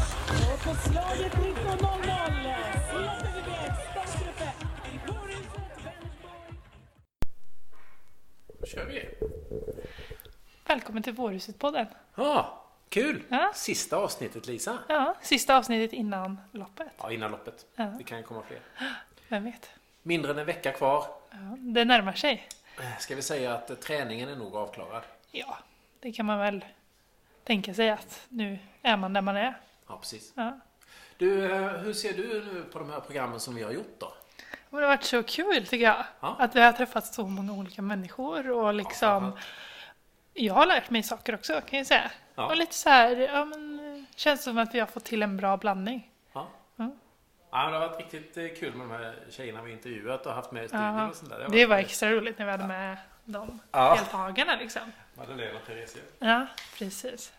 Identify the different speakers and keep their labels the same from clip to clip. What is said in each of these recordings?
Speaker 1: på slaget 19.00. CFWB, Expertgruppen. Boris Wennerborg.
Speaker 2: Då kör vi.
Speaker 3: Välkommen till Vårhuset-podden.
Speaker 2: Ja, kul!
Speaker 3: Ja.
Speaker 2: Sista avsnittet Lisa.
Speaker 3: Ja, sista avsnittet innan loppet.
Speaker 2: Ja, innan loppet.
Speaker 3: Ja.
Speaker 2: Det kan ju komma fler.
Speaker 3: Vem vet?
Speaker 2: Mindre än en vecka kvar.
Speaker 3: Ja, det närmar sig.
Speaker 2: Eh, Ska vi säga att eh, träningen är nog avklarad?
Speaker 3: Ja, det kan man väl tänka sig att nu är man där man är.
Speaker 2: Ja, precis.
Speaker 3: Ja.
Speaker 2: Du, eh, hur ser du nu på de här programmen som vi har gjort då?
Speaker 3: Och det har varit så kul tycker jag.
Speaker 2: Ja.
Speaker 3: Att vi har träffat så många olika människor och liksom...
Speaker 2: Ja.
Speaker 3: jag har lärt mig saker också kan jag säga.
Speaker 2: Ja.
Speaker 3: Och lite så här, ja men... Känns som att vi har fått till en bra blandning.
Speaker 2: Ja.
Speaker 3: Mm.
Speaker 2: Ja, det har varit riktigt eh, kul med de här tjejerna vi intervjuat och haft med i studion
Speaker 3: Ja.
Speaker 2: och sånt där. har
Speaker 3: Det var
Speaker 2: varit-
Speaker 3: extra roligt när vi hade med de
Speaker 2: Ja.
Speaker 3: deltagarna liksom.
Speaker 2: eh, Madeleine och Theresia.
Speaker 3: Ja, precis.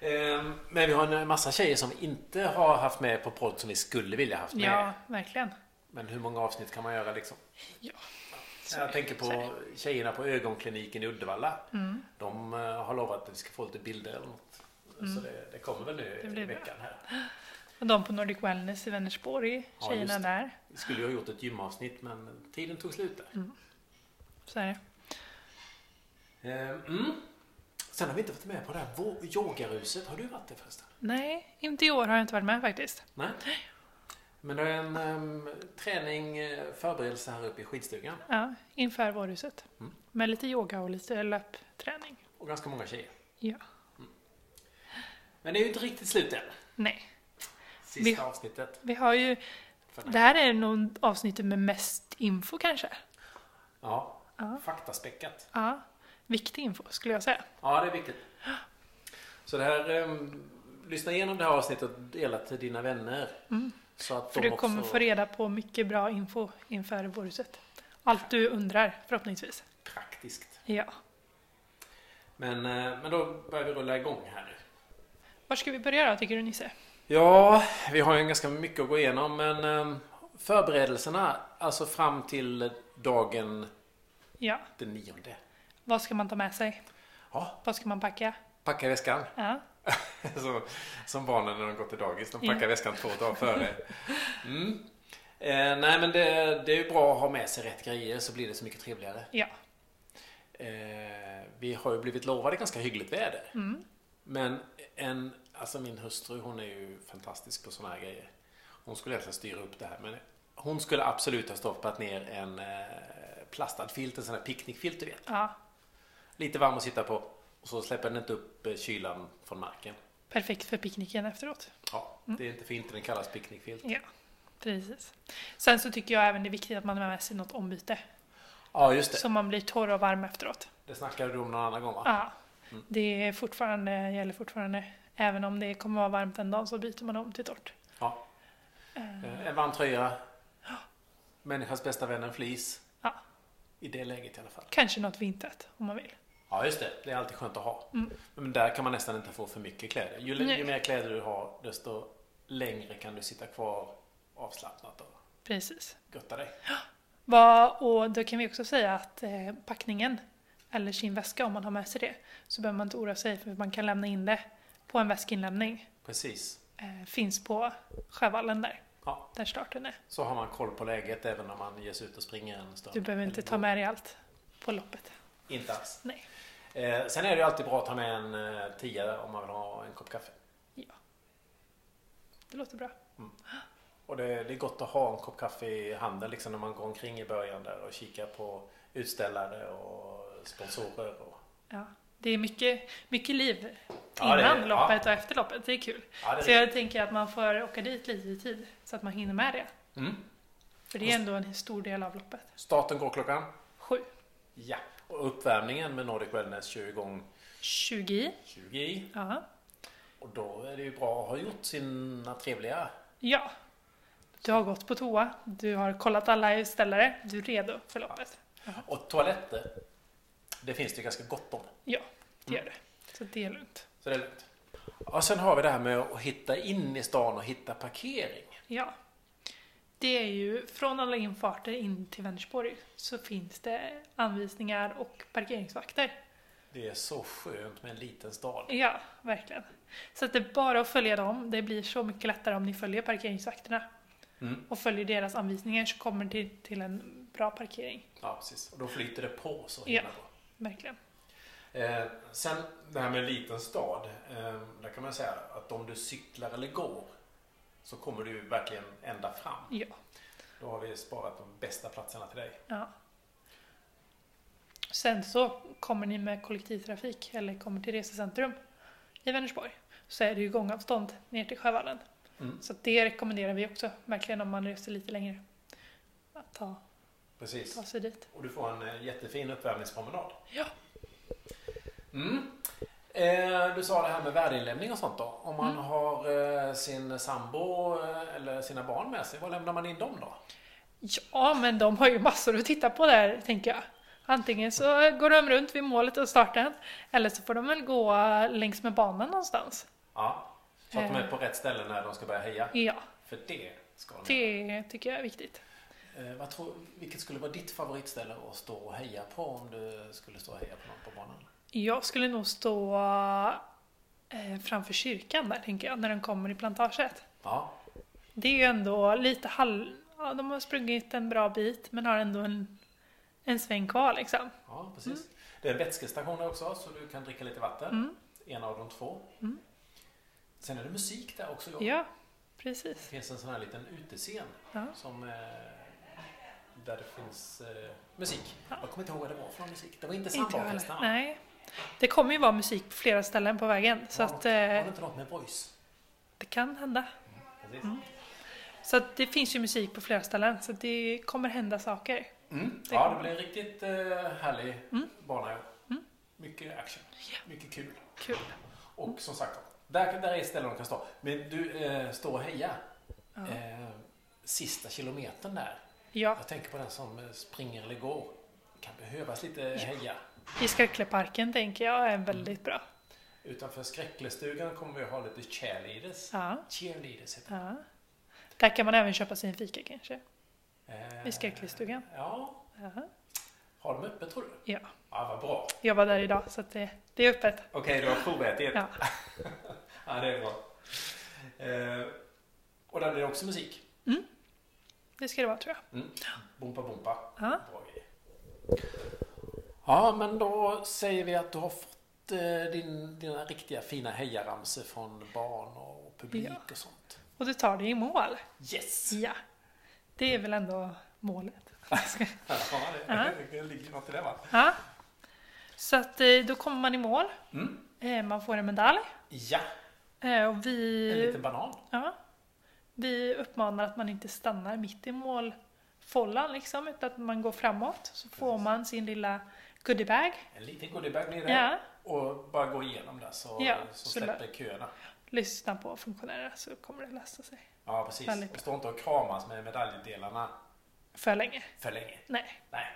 Speaker 2: Ehm, Men vi har en massa tjejer som vi inte har haft med på podd som vi skulle vilja haft med.
Speaker 3: Ja, verkligen.
Speaker 2: Men hur många avsnitt kan man göra liksom?
Speaker 3: Ja.
Speaker 2: Jag tänker
Speaker 3: Så är
Speaker 2: på tjejerna på ögonkliniken i Uddevalla.
Speaker 3: Mm.
Speaker 2: De eh, har lovat att vi ska få lite bilder eller något. Så det, det kommer väl nu
Speaker 3: Mm. blir
Speaker 2: i
Speaker 3: bra.
Speaker 2: veckan här.
Speaker 3: Och de på Nordic Wellness i Vänersborg,
Speaker 2: Ja,
Speaker 3: tjejerna
Speaker 2: just det.
Speaker 3: där.
Speaker 2: Vi skulle ju ha gjort ett gymavsnitt men tiden tog slut där.
Speaker 3: Mm. Så är det.
Speaker 2: Ehm, Mm. Sen har vi inte varit med på det här vå- yogaruset. Har du varit det förresten?
Speaker 3: Nej, inte i år har jag inte varit med faktiskt.
Speaker 2: Nej. Men det är en ehm, träning, eh, förberedelse här uppe i skidstugan.
Speaker 3: Ja, inför vårhuset.
Speaker 2: Mm.
Speaker 3: Med lite yoga och lite löpträning.
Speaker 2: Och ganska många tjejer.
Speaker 3: Ja.
Speaker 2: Men det är ju inte riktigt slut än.
Speaker 3: Nej,
Speaker 2: Sista
Speaker 3: Vi-
Speaker 2: avsnittet.
Speaker 3: vi har ju...
Speaker 2: För den
Speaker 3: Det här är nog avsnittet med mest info kanske.
Speaker 2: Ja,
Speaker 3: Ja.
Speaker 2: faktaspäckat.
Speaker 3: Ja, viktig info skulle jag säga.
Speaker 2: Ja, det är viktigt. Så det här, ehm, lyssna igenom det här avsnittet och dela till dina vänner. Så att
Speaker 3: För
Speaker 2: de
Speaker 3: du kommer
Speaker 2: också
Speaker 3: få reda på mycket bra info inför vårhuset. Allt du undrar förhoppningsvis.
Speaker 2: praktiskt.
Speaker 3: Ja.
Speaker 2: Men, eh, men då börjar vi rulla igång här nu.
Speaker 3: Var ska vi börja då tycker du Nisse?
Speaker 2: Ja, vi har ju ganska mycket att gå igenom men ehm, förberedelserna, alltså fram till dagen
Speaker 3: Ja.
Speaker 2: den nionde.
Speaker 3: Vad ska man ta med sig?
Speaker 2: Ja,
Speaker 3: Vad ska man packa?
Speaker 2: packa i väskan.
Speaker 3: Ja.
Speaker 2: som, som barnen när de går till dagis. De
Speaker 3: Ja.
Speaker 2: packar väskan två dagar före. Mm. Eh, nej men det, det är ju bra att ha med sig rätt grejer så blir det så mycket trevligare.
Speaker 3: ja.
Speaker 2: Eh, vi har ju blivit lovade ganska hyggligt väder. Men en, alltså min hustru hon är ju fantastisk på såna här grejer. Hon skulle egentligen styra upp det här men hon skulle absolut ha stoppat ner en eh, plastad filt, en sån här picknickfilt du vet.
Speaker 3: Ja.
Speaker 2: Lite varm att sitta på och så släpper den inte upp eh, kylan från marken.
Speaker 3: Perfekt för picknicken efteråt.
Speaker 2: Ja, det är inte för inte den kallas picknickfilt.
Speaker 3: Ja. Precis. Sen så tycker jag även det är viktigt att man har med sig något ombyte.
Speaker 2: Ja, just det.
Speaker 3: Så man blir torr och varm efteråt.
Speaker 2: Det snackade du om någon annan gång va?
Speaker 3: Ja.
Speaker 2: Mm.
Speaker 3: Det är fortfarande, gäller fortfarande. Även om det kommer vara varmt en dag så byter man om till torrt.
Speaker 2: Ja. Eh, En varm tröja. Människans bästa vän en flis.
Speaker 3: Ja.
Speaker 2: I det läget i alla fall.
Speaker 3: Kanske något vintrat om man vill.
Speaker 2: Ja, just det. Det är alltid skönt att ha. Men där kan man nästan inte få för mycket kläder. Ju,
Speaker 3: Mm. Nej.
Speaker 2: ju mer kläder du har, desto längre kan du sitta kvar avslappnat och
Speaker 3: Precis.
Speaker 2: götta dig.
Speaker 3: Vad- och då kan vi också säga att eh, packningen, eller sin väska om man har med sig det, så behöver man inte oroa sig för man kan lämna in det på en väskinlämning.
Speaker 2: Precis.
Speaker 3: Eh, finns på Sjövallen där,
Speaker 2: Ja,
Speaker 3: där starten är.
Speaker 2: så har man koll på läget även när man ger sig ut och springer en stund.
Speaker 3: Du behöver
Speaker 2: Eller
Speaker 3: inte
Speaker 2: går.
Speaker 3: ta med dig allt på loppet.
Speaker 2: Inte alls.
Speaker 3: Nej.
Speaker 2: Eh, sen är det ju alltid bra att ta med en eh, tia om man vill ha en kopp kaffe.
Speaker 3: Ja. Det låter bra.
Speaker 2: Och det, det är gott att ha en kopp kaffe i handen liksom när man går omkring i början där och kikar på utställare och sponsorer. Och...
Speaker 3: Ja. Det är mycket, mycket liv
Speaker 2: Ja,
Speaker 3: innan
Speaker 2: det är-
Speaker 3: loppet och efter loppet. Det är kul.
Speaker 2: Ja, det är
Speaker 3: så jag tänker att man får åka dit lite i tid så att man hinner med det.
Speaker 2: Mm.
Speaker 3: För det är ändå en stor del av loppet.
Speaker 2: Starten går klockan?
Speaker 3: Sju.
Speaker 2: Ja. Och uppvärmningen med Nordic Wellness 20 gång
Speaker 3: 20 i.
Speaker 2: 20 i.
Speaker 3: Ja.
Speaker 2: Och då är det ju bra att ha gjort sina trevliga...
Speaker 3: Ja. Du har gått på toa, du har kollat alla utställare, du är redo för loppet.
Speaker 2: Och toaletter, det finns det ju ganska gott om.
Speaker 3: Ja, det
Speaker 2: Mm.
Speaker 3: gör du. Så det är lugnt.
Speaker 2: Så det är lugnt. Och sen har vi det här med att hitta in i stan och hitta parkering.
Speaker 3: Ja. Det är ju från alla infarter in till Vänersborg så finns det anvisningar och parkeringsvakter.
Speaker 2: Det är så skönt med en liten stad.
Speaker 3: Ja, verkligen. Så att det är bara att följa dem. Det blir så mycket lättare om ni följer parkeringsvakterna.
Speaker 2: Mm.
Speaker 3: Och följer deras anvisningar så kommer ni till, till en bra parkering.
Speaker 2: Ja, precis. Och då flyter det på så
Speaker 3: Ja.
Speaker 2: himla bra.
Speaker 3: Verkligen.
Speaker 2: Eh, sen det här med liten stad. Eh, där kan man säga att om du cyklar eller går så kommer du ju verkligen ända fram.
Speaker 3: Ja.
Speaker 2: Då har vi sparat de bästa platserna till dig.
Speaker 3: ja. Sen så kommer ni med kollektivtrafik eller kommer till resecentrum i Vänersborg. Så är det ju gångavstånd ner till Sjövallen.
Speaker 2: Mm.
Speaker 3: Så att det rekommenderar vi också, verkligen om man reser lite längre. Att ta,
Speaker 2: Precis.
Speaker 3: ta sig dit.
Speaker 2: Och du får en eh, jättefin uppvärmningspromenad.
Speaker 3: Ja.
Speaker 2: Mm. Eh, du sa det här med värdeinlämning och sånt då. Om man
Speaker 3: Mm.
Speaker 2: har eh, sin sambo eh, eller sina barn med sig, var lämnar man in dem då?
Speaker 3: Ja, men de har ju massor att titta på där, tänker jag. Antingen så går de runt vid målet och starten, eller så får de väl gå längs med banan någonstans.
Speaker 2: Ja. Så att de
Speaker 3: Eh.
Speaker 2: är på rätt ställe när de ska börja heja.
Speaker 3: Ja,
Speaker 2: För det ska de göra.
Speaker 3: det tycker jag är viktigt.
Speaker 2: Eh, vad tror, vilket skulle vara ditt favoritställe att stå och heja på om du skulle stå och heja på någon på banan?
Speaker 3: Jag skulle nog stå eh, framför kyrkan där, tänker jag, när de kommer i plantaget.
Speaker 2: Ja,
Speaker 3: Det är ju ändå lite halv... Ja, de har sprungit en bra bit, men har ändå en, en sväng kvar liksom.
Speaker 2: ja precis. Det är vätskestationer också så du kan dricka lite vatten.
Speaker 3: Mm.
Speaker 2: En av de två.
Speaker 3: Mm.
Speaker 2: Sen är det musik där också. Johan.
Speaker 3: Ja,
Speaker 2: Det
Speaker 3: precis.
Speaker 2: finns en sån här liten utescen
Speaker 3: Ja.
Speaker 2: som, eh, där det finns eh, musik. Jag kommer inte ihåg vad det var för någon musik. Det var inte
Speaker 3: Inte jag heller.
Speaker 2: sandbar förresten. va?
Speaker 3: Nej. Det kommer ju vara musik på flera ställen på vägen, så
Speaker 2: Var det
Speaker 3: att...
Speaker 2: något-
Speaker 3: Eh,
Speaker 2: Var det inte något med voice?
Speaker 3: Det kan hända.
Speaker 2: Precis.
Speaker 3: Mm. Så att det finns ju musik på flera ställen, så det kommer hända saker.
Speaker 2: Mm.
Speaker 3: Det- Mm.
Speaker 2: Ja, det blir en riktigt eh, härlig bana. Mycket action. Mycket kul.
Speaker 3: Kul.
Speaker 2: Och som sagt, där, där är ett ställe de kan stå. Men du, eh, stå och heja. Eh, sista kilometern där.
Speaker 3: Ja,
Speaker 2: Jag tänker på den som eh, springer eller går. Kan behövas lite heja.
Speaker 3: i Skarkleparken tänker jag är väldigt bra.
Speaker 2: Utanför skräcklestugan kommer vi ha lite cheerleaders.
Speaker 3: Ja,
Speaker 2: Cheerleaders heter
Speaker 3: ja. Där kan man även köpa sig en fika kanske,
Speaker 2: det.
Speaker 3: i Skarklestugan.
Speaker 2: Eh, Ja,
Speaker 3: Ja.
Speaker 2: har de öppet tror du?
Speaker 3: ja,
Speaker 2: Ja, vad bra.
Speaker 3: jag var där idag så att det, det är öppet.
Speaker 2: Okej, du har provätit.
Speaker 3: Ja.
Speaker 2: ja, det är bra. Eh, och där blir det också musik.
Speaker 3: Det ska det vara tror jag.
Speaker 2: Mm. Bompa, bompa.
Speaker 3: Ja.
Speaker 2: Bra grej. Ja, men då säger vi att du har fått eh, din, dina riktiga fina hejaramsor från barn och publik
Speaker 3: Ja.
Speaker 2: och sånt.
Speaker 3: Och du tar dig i mål.
Speaker 2: Yes!
Speaker 3: Ja, det är väl ändå målet.
Speaker 2: Ja, det,
Speaker 3: Ja.
Speaker 2: det ligger något i det va?
Speaker 3: Ja. Så att eh, då kommer man i mål.
Speaker 2: Mm.
Speaker 3: Eh, Man får en medalj.
Speaker 2: Ja,
Speaker 3: Eh, Och vi...
Speaker 2: en liten banan.
Speaker 3: Ja. Vi uppmanar att man inte stannar mitt i målfållan liksom, utan att man går framåt. Så får
Speaker 2: Precis.
Speaker 3: man sin lilla goodiebag.
Speaker 2: En liten goodiebag blir det.
Speaker 3: Ja.
Speaker 2: Och bara gå igenom där så,
Speaker 3: Ja,
Speaker 2: så
Speaker 3: så
Speaker 2: släpper köerna.
Speaker 3: Lyssna på funktionärerna så kommer det lösa sig.
Speaker 2: Ja, precis.
Speaker 3: Väldigt
Speaker 2: Och stå inte och kramas med medaljdelarna
Speaker 3: För länge?
Speaker 2: för länge.
Speaker 3: Nej.
Speaker 2: Nej.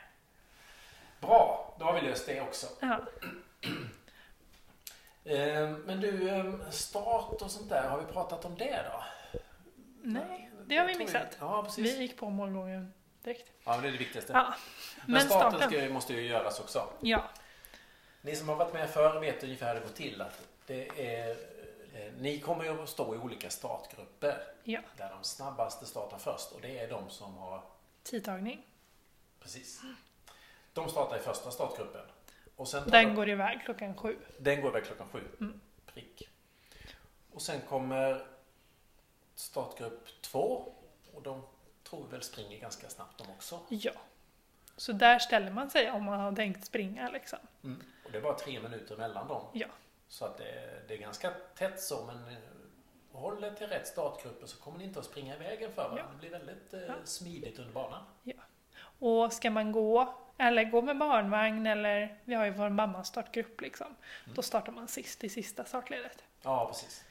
Speaker 2: Bra, då har vi löst det också.
Speaker 3: Ja.
Speaker 2: Eh, Men du, eh, start och sånt där, har vi pratat om det då?
Speaker 3: Nej, det har vi
Speaker 2: Jag tror
Speaker 3: missat.
Speaker 2: Ja, precis.
Speaker 3: Vi gick på målgången direkt.
Speaker 2: Ja, det är det viktigaste.
Speaker 3: Ja.
Speaker 2: Men
Speaker 3: Men
Speaker 2: starten
Speaker 3: starten.
Speaker 2: Ska, måste ju göras också.
Speaker 3: Ja.
Speaker 2: Ni som har varit med förr vet ungefär hur det går till. Att det är, eh, ni kommer ju att stå i olika startgrupper
Speaker 3: ja.
Speaker 2: där de snabbaste startar först och det är de som har
Speaker 3: Tidtagning.
Speaker 2: Precis. De startar i första startgruppen. Och sen tar
Speaker 3: Den
Speaker 2: de-
Speaker 3: går Mm. iväg klockan sju.
Speaker 2: den går iväg klockan sju. Prick. Och sen kommer startgrupp två. Och de tror vi väl springer ganska snabbt de också.
Speaker 3: Ja. Så där ställer man sig om man har tänkt springa liksom.
Speaker 2: Och det är bara tre minuter mellan dem.
Speaker 3: Ja.
Speaker 2: Så att det, det är ganska tätt så men eh, håll er till rätt startgrupper så kommer ni inte att springa i vägen för varandra.
Speaker 3: Ja.
Speaker 2: Det blir väldigt eh,
Speaker 3: Ja.
Speaker 2: smidigt under banan.
Speaker 3: Ja. Och ska man gå, eller gå med barnvagn, eller vi har ju vår mammas startgrupp liksom.
Speaker 2: Mm.
Speaker 3: Då startar man sist i sista startledet.
Speaker 2: Ja, precis.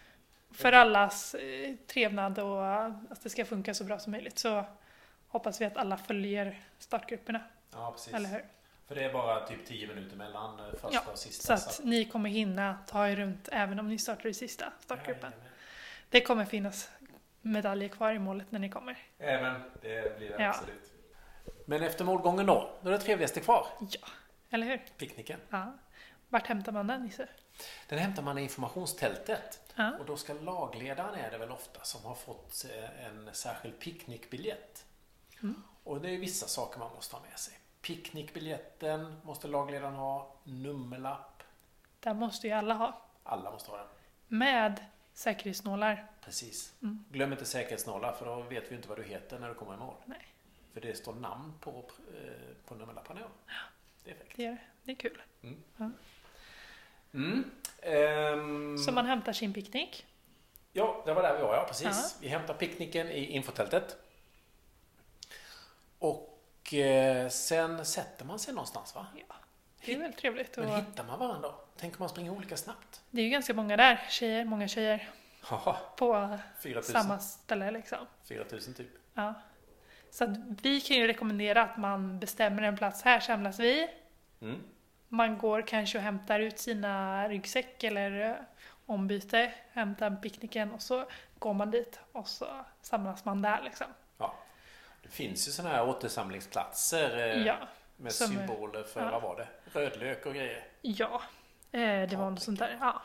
Speaker 3: För allas eh, trevnad och eh, att det ska funka så bra som möjligt så hoppas vi att alla följer startgrupperna,
Speaker 2: Ja, precis.
Speaker 3: eller hur?
Speaker 2: För det är bara typ tio minuter mellan eh, första
Speaker 3: Ja,
Speaker 2: och sista.
Speaker 3: Så att ni kommer hinna ta er runt även om ni startar i sista startgruppen.
Speaker 2: Jajamän.
Speaker 3: Det kommer finnas medaljer kvar i målet när ni kommer.
Speaker 2: Även det blir det
Speaker 3: Ja.
Speaker 2: absolut. Men efter målgången då, då är det trevligaste kvar.
Speaker 3: Ja, eller hur?
Speaker 2: Picknicken.
Speaker 3: Ja. Vart hämtar man den Nisse?
Speaker 2: Den hämtar man i informationstältet.
Speaker 3: Ja.
Speaker 2: Och då ska lagledaren, är det väl ofta, som har fått eh, en särskild picknickbiljett.
Speaker 3: Mm.
Speaker 2: Och det är vissa saker man måste ha med sig. Picknickbiljetten måste lagledaren ha, nummerlapp.
Speaker 3: Den måste ju alla ha.
Speaker 2: Alla måste ha den.
Speaker 3: Med säkerhetsnålar.
Speaker 2: Precis.
Speaker 3: Mm.
Speaker 2: Glöm inte säkerhetsnålar för då vet vi inte vad du heter när du kommer i mål.
Speaker 3: Nej,
Speaker 2: För det står namn på, eh, på nummerlapparna. Ja. Det är fräckt.
Speaker 3: det är, det är kul.
Speaker 2: Mm. Ehm,
Speaker 3: Så man hämtar sin picknick.
Speaker 2: Ja, det var där vi var, ja precis.
Speaker 3: Ja.
Speaker 2: Vi hämtar picknicken i infotältet. Och eh, sen sätter man sig någonstans va?
Speaker 3: Ja, det är väl trevligt. Och
Speaker 2: Men hittar man varandra? Tänk om man springer olika snabbt?
Speaker 3: det är ju ganska många där, tjejer, många tjejer,
Speaker 2: Haha,
Speaker 3: på
Speaker 2: 4000.
Speaker 3: samma ställe liksom.
Speaker 2: 4000 typ.
Speaker 3: Ja. Så att vi kan ju rekommendera att man bestämmer en plats, här samlas vi.
Speaker 2: Mm.
Speaker 3: Man går kanske och hämtar ut sina ryggsäck eller eh, ombyte, hämtar picknicken och så går man dit och så samlas man där liksom.
Speaker 2: Ja. Det finns ju sådana här återsamlingsplatser eh,
Speaker 3: Ja.
Speaker 2: med
Speaker 3: som-
Speaker 2: symboler för,
Speaker 3: ja.
Speaker 2: vad var det? Rödlök och grejer.
Speaker 3: Ja, eh, det var något sånt där. Ja,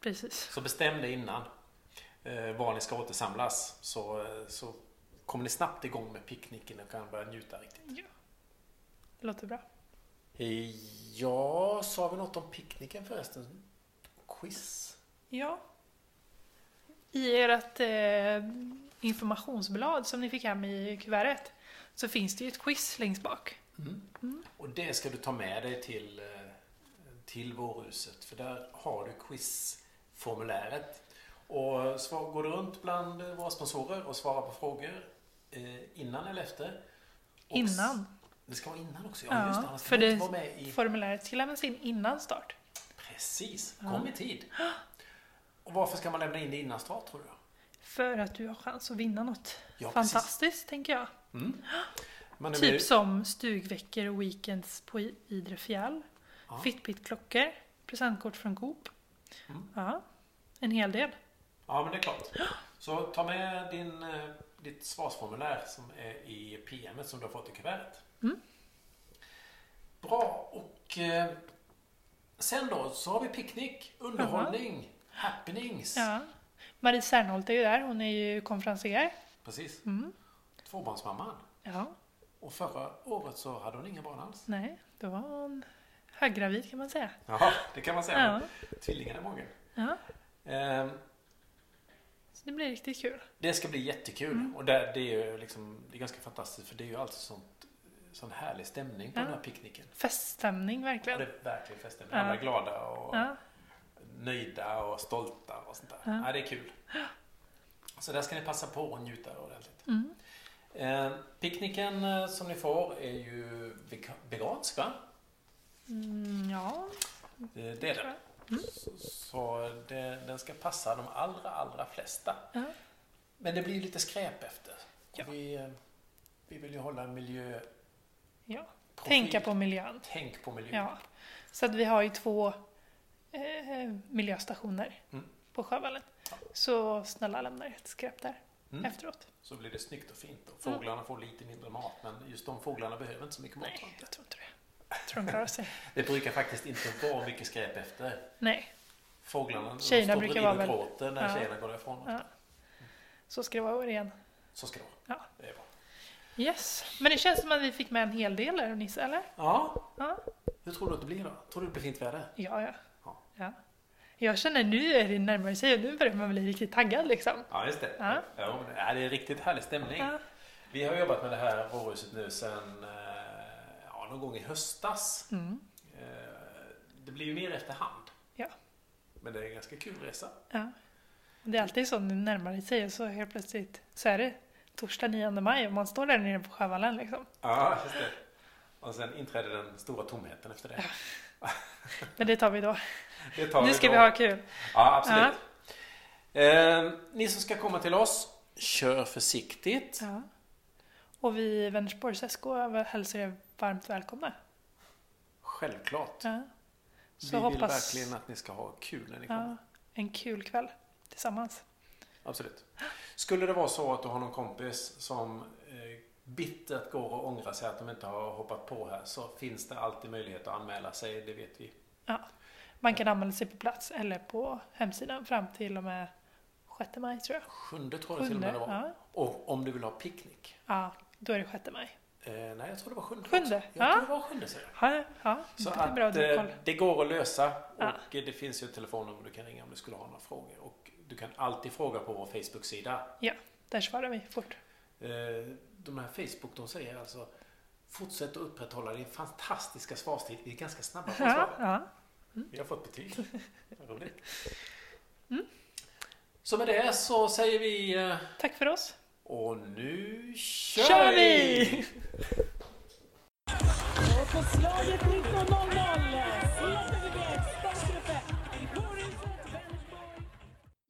Speaker 3: precis.
Speaker 2: Så bestäm det innan eh, var ni ska återsamlas så, eh, så kommer ni snabbt igång med picknicken och kan börja njuta riktigt.
Speaker 3: Ja. Det låter bra.
Speaker 2: Eh, Ja, sa vi något om picknicken förresten? Quiz?
Speaker 3: Ja. I ert eh, informationsblad som ni fick hem i kuvertet så finns det ju ett quiz längst bak.
Speaker 2: Och det ska du ta med dig till, eh, till vårhuset för där har du quizformuläret. Och svar, går du runt bland våra sponsorer och svarar på frågor eh, innan eller efter? Och s-
Speaker 3: Innan.
Speaker 2: Det ska vara innan också, ja,
Speaker 3: Ja,
Speaker 2: just det. Annars
Speaker 3: för
Speaker 2: kan man inte
Speaker 3: det
Speaker 2: vara med i
Speaker 3: formuläret ska lämnas in innan start.
Speaker 2: Precis, kom i tid. Och varför ska man lämna in det innan start tror du?
Speaker 3: För att du har chans att vinna något
Speaker 2: Ja, precis.
Speaker 3: fantastiskt, tänker jag.
Speaker 2: Man är
Speaker 3: typ
Speaker 2: med-
Speaker 3: som stugveckor och weekends på I- Idre fjäll.
Speaker 2: Ja.
Speaker 3: Fitbit-klockor, presentkort från Coop.
Speaker 2: Mm.
Speaker 3: Ja, en hel del.
Speaker 2: Ja, men det är klart. Så ta med din, eh, ditt svarsformulär som är i PMet som du har fått i kuvertet.
Speaker 3: Mm.
Speaker 2: Bra, och eh, sen då så har vi picknick, underhållning, happenings.
Speaker 3: Ja. Marie Serneholt är ju där, hon är ju konferencier.
Speaker 2: Precis.
Speaker 3: Mm.
Speaker 2: Tvåbarnsmamman.
Speaker 3: Ja,
Speaker 2: Och förra året så hade hon inga barn alls.
Speaker 3: nej, då var hon höggravid kan man säga.
Speaker 2: Ja, det kan man
Speaker 3: Ja.
Speaker 2: säga. Tvillingar i magen.
Speaker 3: Ja,
Speaker 2: Ehm,
Speaker 3: så det blir riktigt kul.
Speaker 2: Det ska bli jättekul.
Speaker 3: Mm.
Speaker 2: Och det, det är ju liksom, det är ganska fantastiskt för det är ju alltid sånt, sån härlig stämning på
Speaker 3: Ja.
Speaker 2: den här picknicken.
Speaker 3: Feststämning
Speaker 2: Och det
Speaker 3: verkligen.
Speaker 2: är verkligen feststämning.
Speaker 3: Ja.
Speaker 2: Alla är glada och
Speaker 3: Ja,
Speaker 2: nöjda och stolta och sånt där.
Speaker 3: Ja.
Speaker 2: Ja. det är kul. Så där ska ni passa på och njuta ordentligt.
Speaker 3: Mm.
Speaker 2: Eh, picknicken eh, som ni får är ju vega- vegansk va?
Speaker 3: mm, ja.
Speaker 2: Eh, Det är den.
Speaker 3: Mm.
Speaker 2: Så, så det, den ska passa de allra, allra flesta.
Speaker 3: ja.
Speaker 2: Men det blir ju lite skräp efter.
Speaker 3: Ja.
Speaker 2: Vi, eh, vi vill ju hålla en miljö...
Speaker 3: ja. Tänka på miljön.
Speaker 2: Tänk på miljön.
Speaker 3: Ja. Så att vi har ju två eh, miljöstationer
Speaker 2: Mm.
Speaker 3: på Sjövallen. Så snälla lämna ett skräp där
Speaker 2: Mm.
Speaker 3: efteråt.
Speaker 2: Så blir det snyggt och fint. Och fåglarna får lite mindre mat, men just de fåglarna behöver inte så mycket mat.
Speaker 3: Nej, jag tror inte det. Jag tror de klarar sig.
Speaker 2: Det brukar faktiskt inte vara mycket skräp efter.
Speaker 3: Nej,
Speaker 2: Fåglarna de
Speaker 3: Tjejerna
Speaker 2: står
Speaker 3: brukar
Speaker 2: bredvid
Speaker 3: vara
Speaker 2: och
Speaker 3: väl-
Speaker 2: gråter när
Speaker 3: Ja.
Speaker 2: tjejerna går ifrån.
Speaker 3: Ja. så ska det vara igen.
Speaker 2: Så ska det vara.
Speaker 3: Ja.
Speaker 2: Det är bra.
Speaker 3: Yes. Men det känns som att vi fick med en hel del där, Nisse, eller?
Speaker 2: Ja,
Speaker 3: Ja.
Speaker 2: hur tror du att det blir då? Tror du det blir fint väder?
Speaker 3: Ja, ja.
Speaker 2: Ja.
Speaker 3: ja. Jag känner nu är det närmare sig och nu börjar man bli riktigt taggad liksom.
Speaker 2: Ja, just det.
Speaker 3: Ja.
Speaker 2: Ja, men det är en riktigt härlig stämning.
Speaker 3: Ja.
Speaker 2: Vi har jobbat med det här vårhuset nu sedan eh, ja, någon gång i höstas.
Speaker 3: Mm.
Speaker 2: Eh, Det blir ju mer efterhand,
Speaker 3: Ja.
Speaker 2: men det är en ganska kul resa.
Speaker 3: ja. Det är alltid så när det närmar sig och så helt plötsligt så är det torsdag 9 maj och man står där nere på Sjövallen liksom.
Speaker 2: Ja, just det. Och sen inträdde den stora tomheten efter det.
Speaker 3: Men det tar vi då.
Speaker 2: det tar
Speaker 3: nu ska
Speaker 2: då.
Speaker 3: vi ha kul.
Speaker 2: Ja, absolut. Eh, ni som ska komma till oss, kör försiktigt.
Speaker 3: Ja. Och vi i Vänersborgs SK hälsar er varmt välkomna.
Speaker 2: Självklart.
Speaker 3: Ja. Så
Speaker 2: vi vill
Speaker 3: hoppas
Speaker 2: verkligen att ni ska ha kul när ni kommer.
Speaker 3: ja, en kul kväll tillsammans.
Speaker 2: Absolut. Skulle det vara så att du har någon kompis som eh, bittert går och ångrar sig att de inte har hoppat på här så finns det alltid möjlighet att anmäla sig, det vet vi.
Speaker 3: Ja. Man kan anmäla sig på plats eller på hemsidan fram till och med 6 maj tror jag.
Speaker 2: Sjunde tror jag till och med det var.
Speaker 3: ja.
Speaker 2: Och om du vill ha picknick.
Speaker 3: ja, då är det 6 maj.
Speaker 2: Eh, nej, jag tror det var sjunde.
Speaker 3: Sjunde,
Speaker 2: också. Jag
Speaker 3: ja.
Speaker 2: tror det var sjunde, säger jag.
Speaker 3: Ja, ja.
Speaker 2: Så
Speaker 3: det är
Speaker 2: att
Speaker 3: bra att du har
Speaker 2: eh,
Speaker 3: koll.
Speaker 2: det går att lösa
Speaker 3: Ja.
Speaker 2: och eh, det finns ju ett telefonnummer du kan ringa om du skulle ha några frågor. Och du kan alltid fråga på vår Facebook-sida.
Speaker 3: Där svarar vi fort.
Speaker 2: Eh, De här Facebook, de säger alltså Fortsätt att upprätthålla din fantastiska svarstid. Vi är ganska snabba på att
Speaker 3: Ja,
Speaker 2: svara.
Speaker 3: ja.
Speaker 2: Vi har fått betyg. Vad Roligt.
Speaker 3: Mm.
Speaker 2: Så med det så säger vi eh,
Speaker 3: Tack för oss.
Speaker 2: Och nu kör,
Speaker 3: Kör vi!
Speaker 2: vi!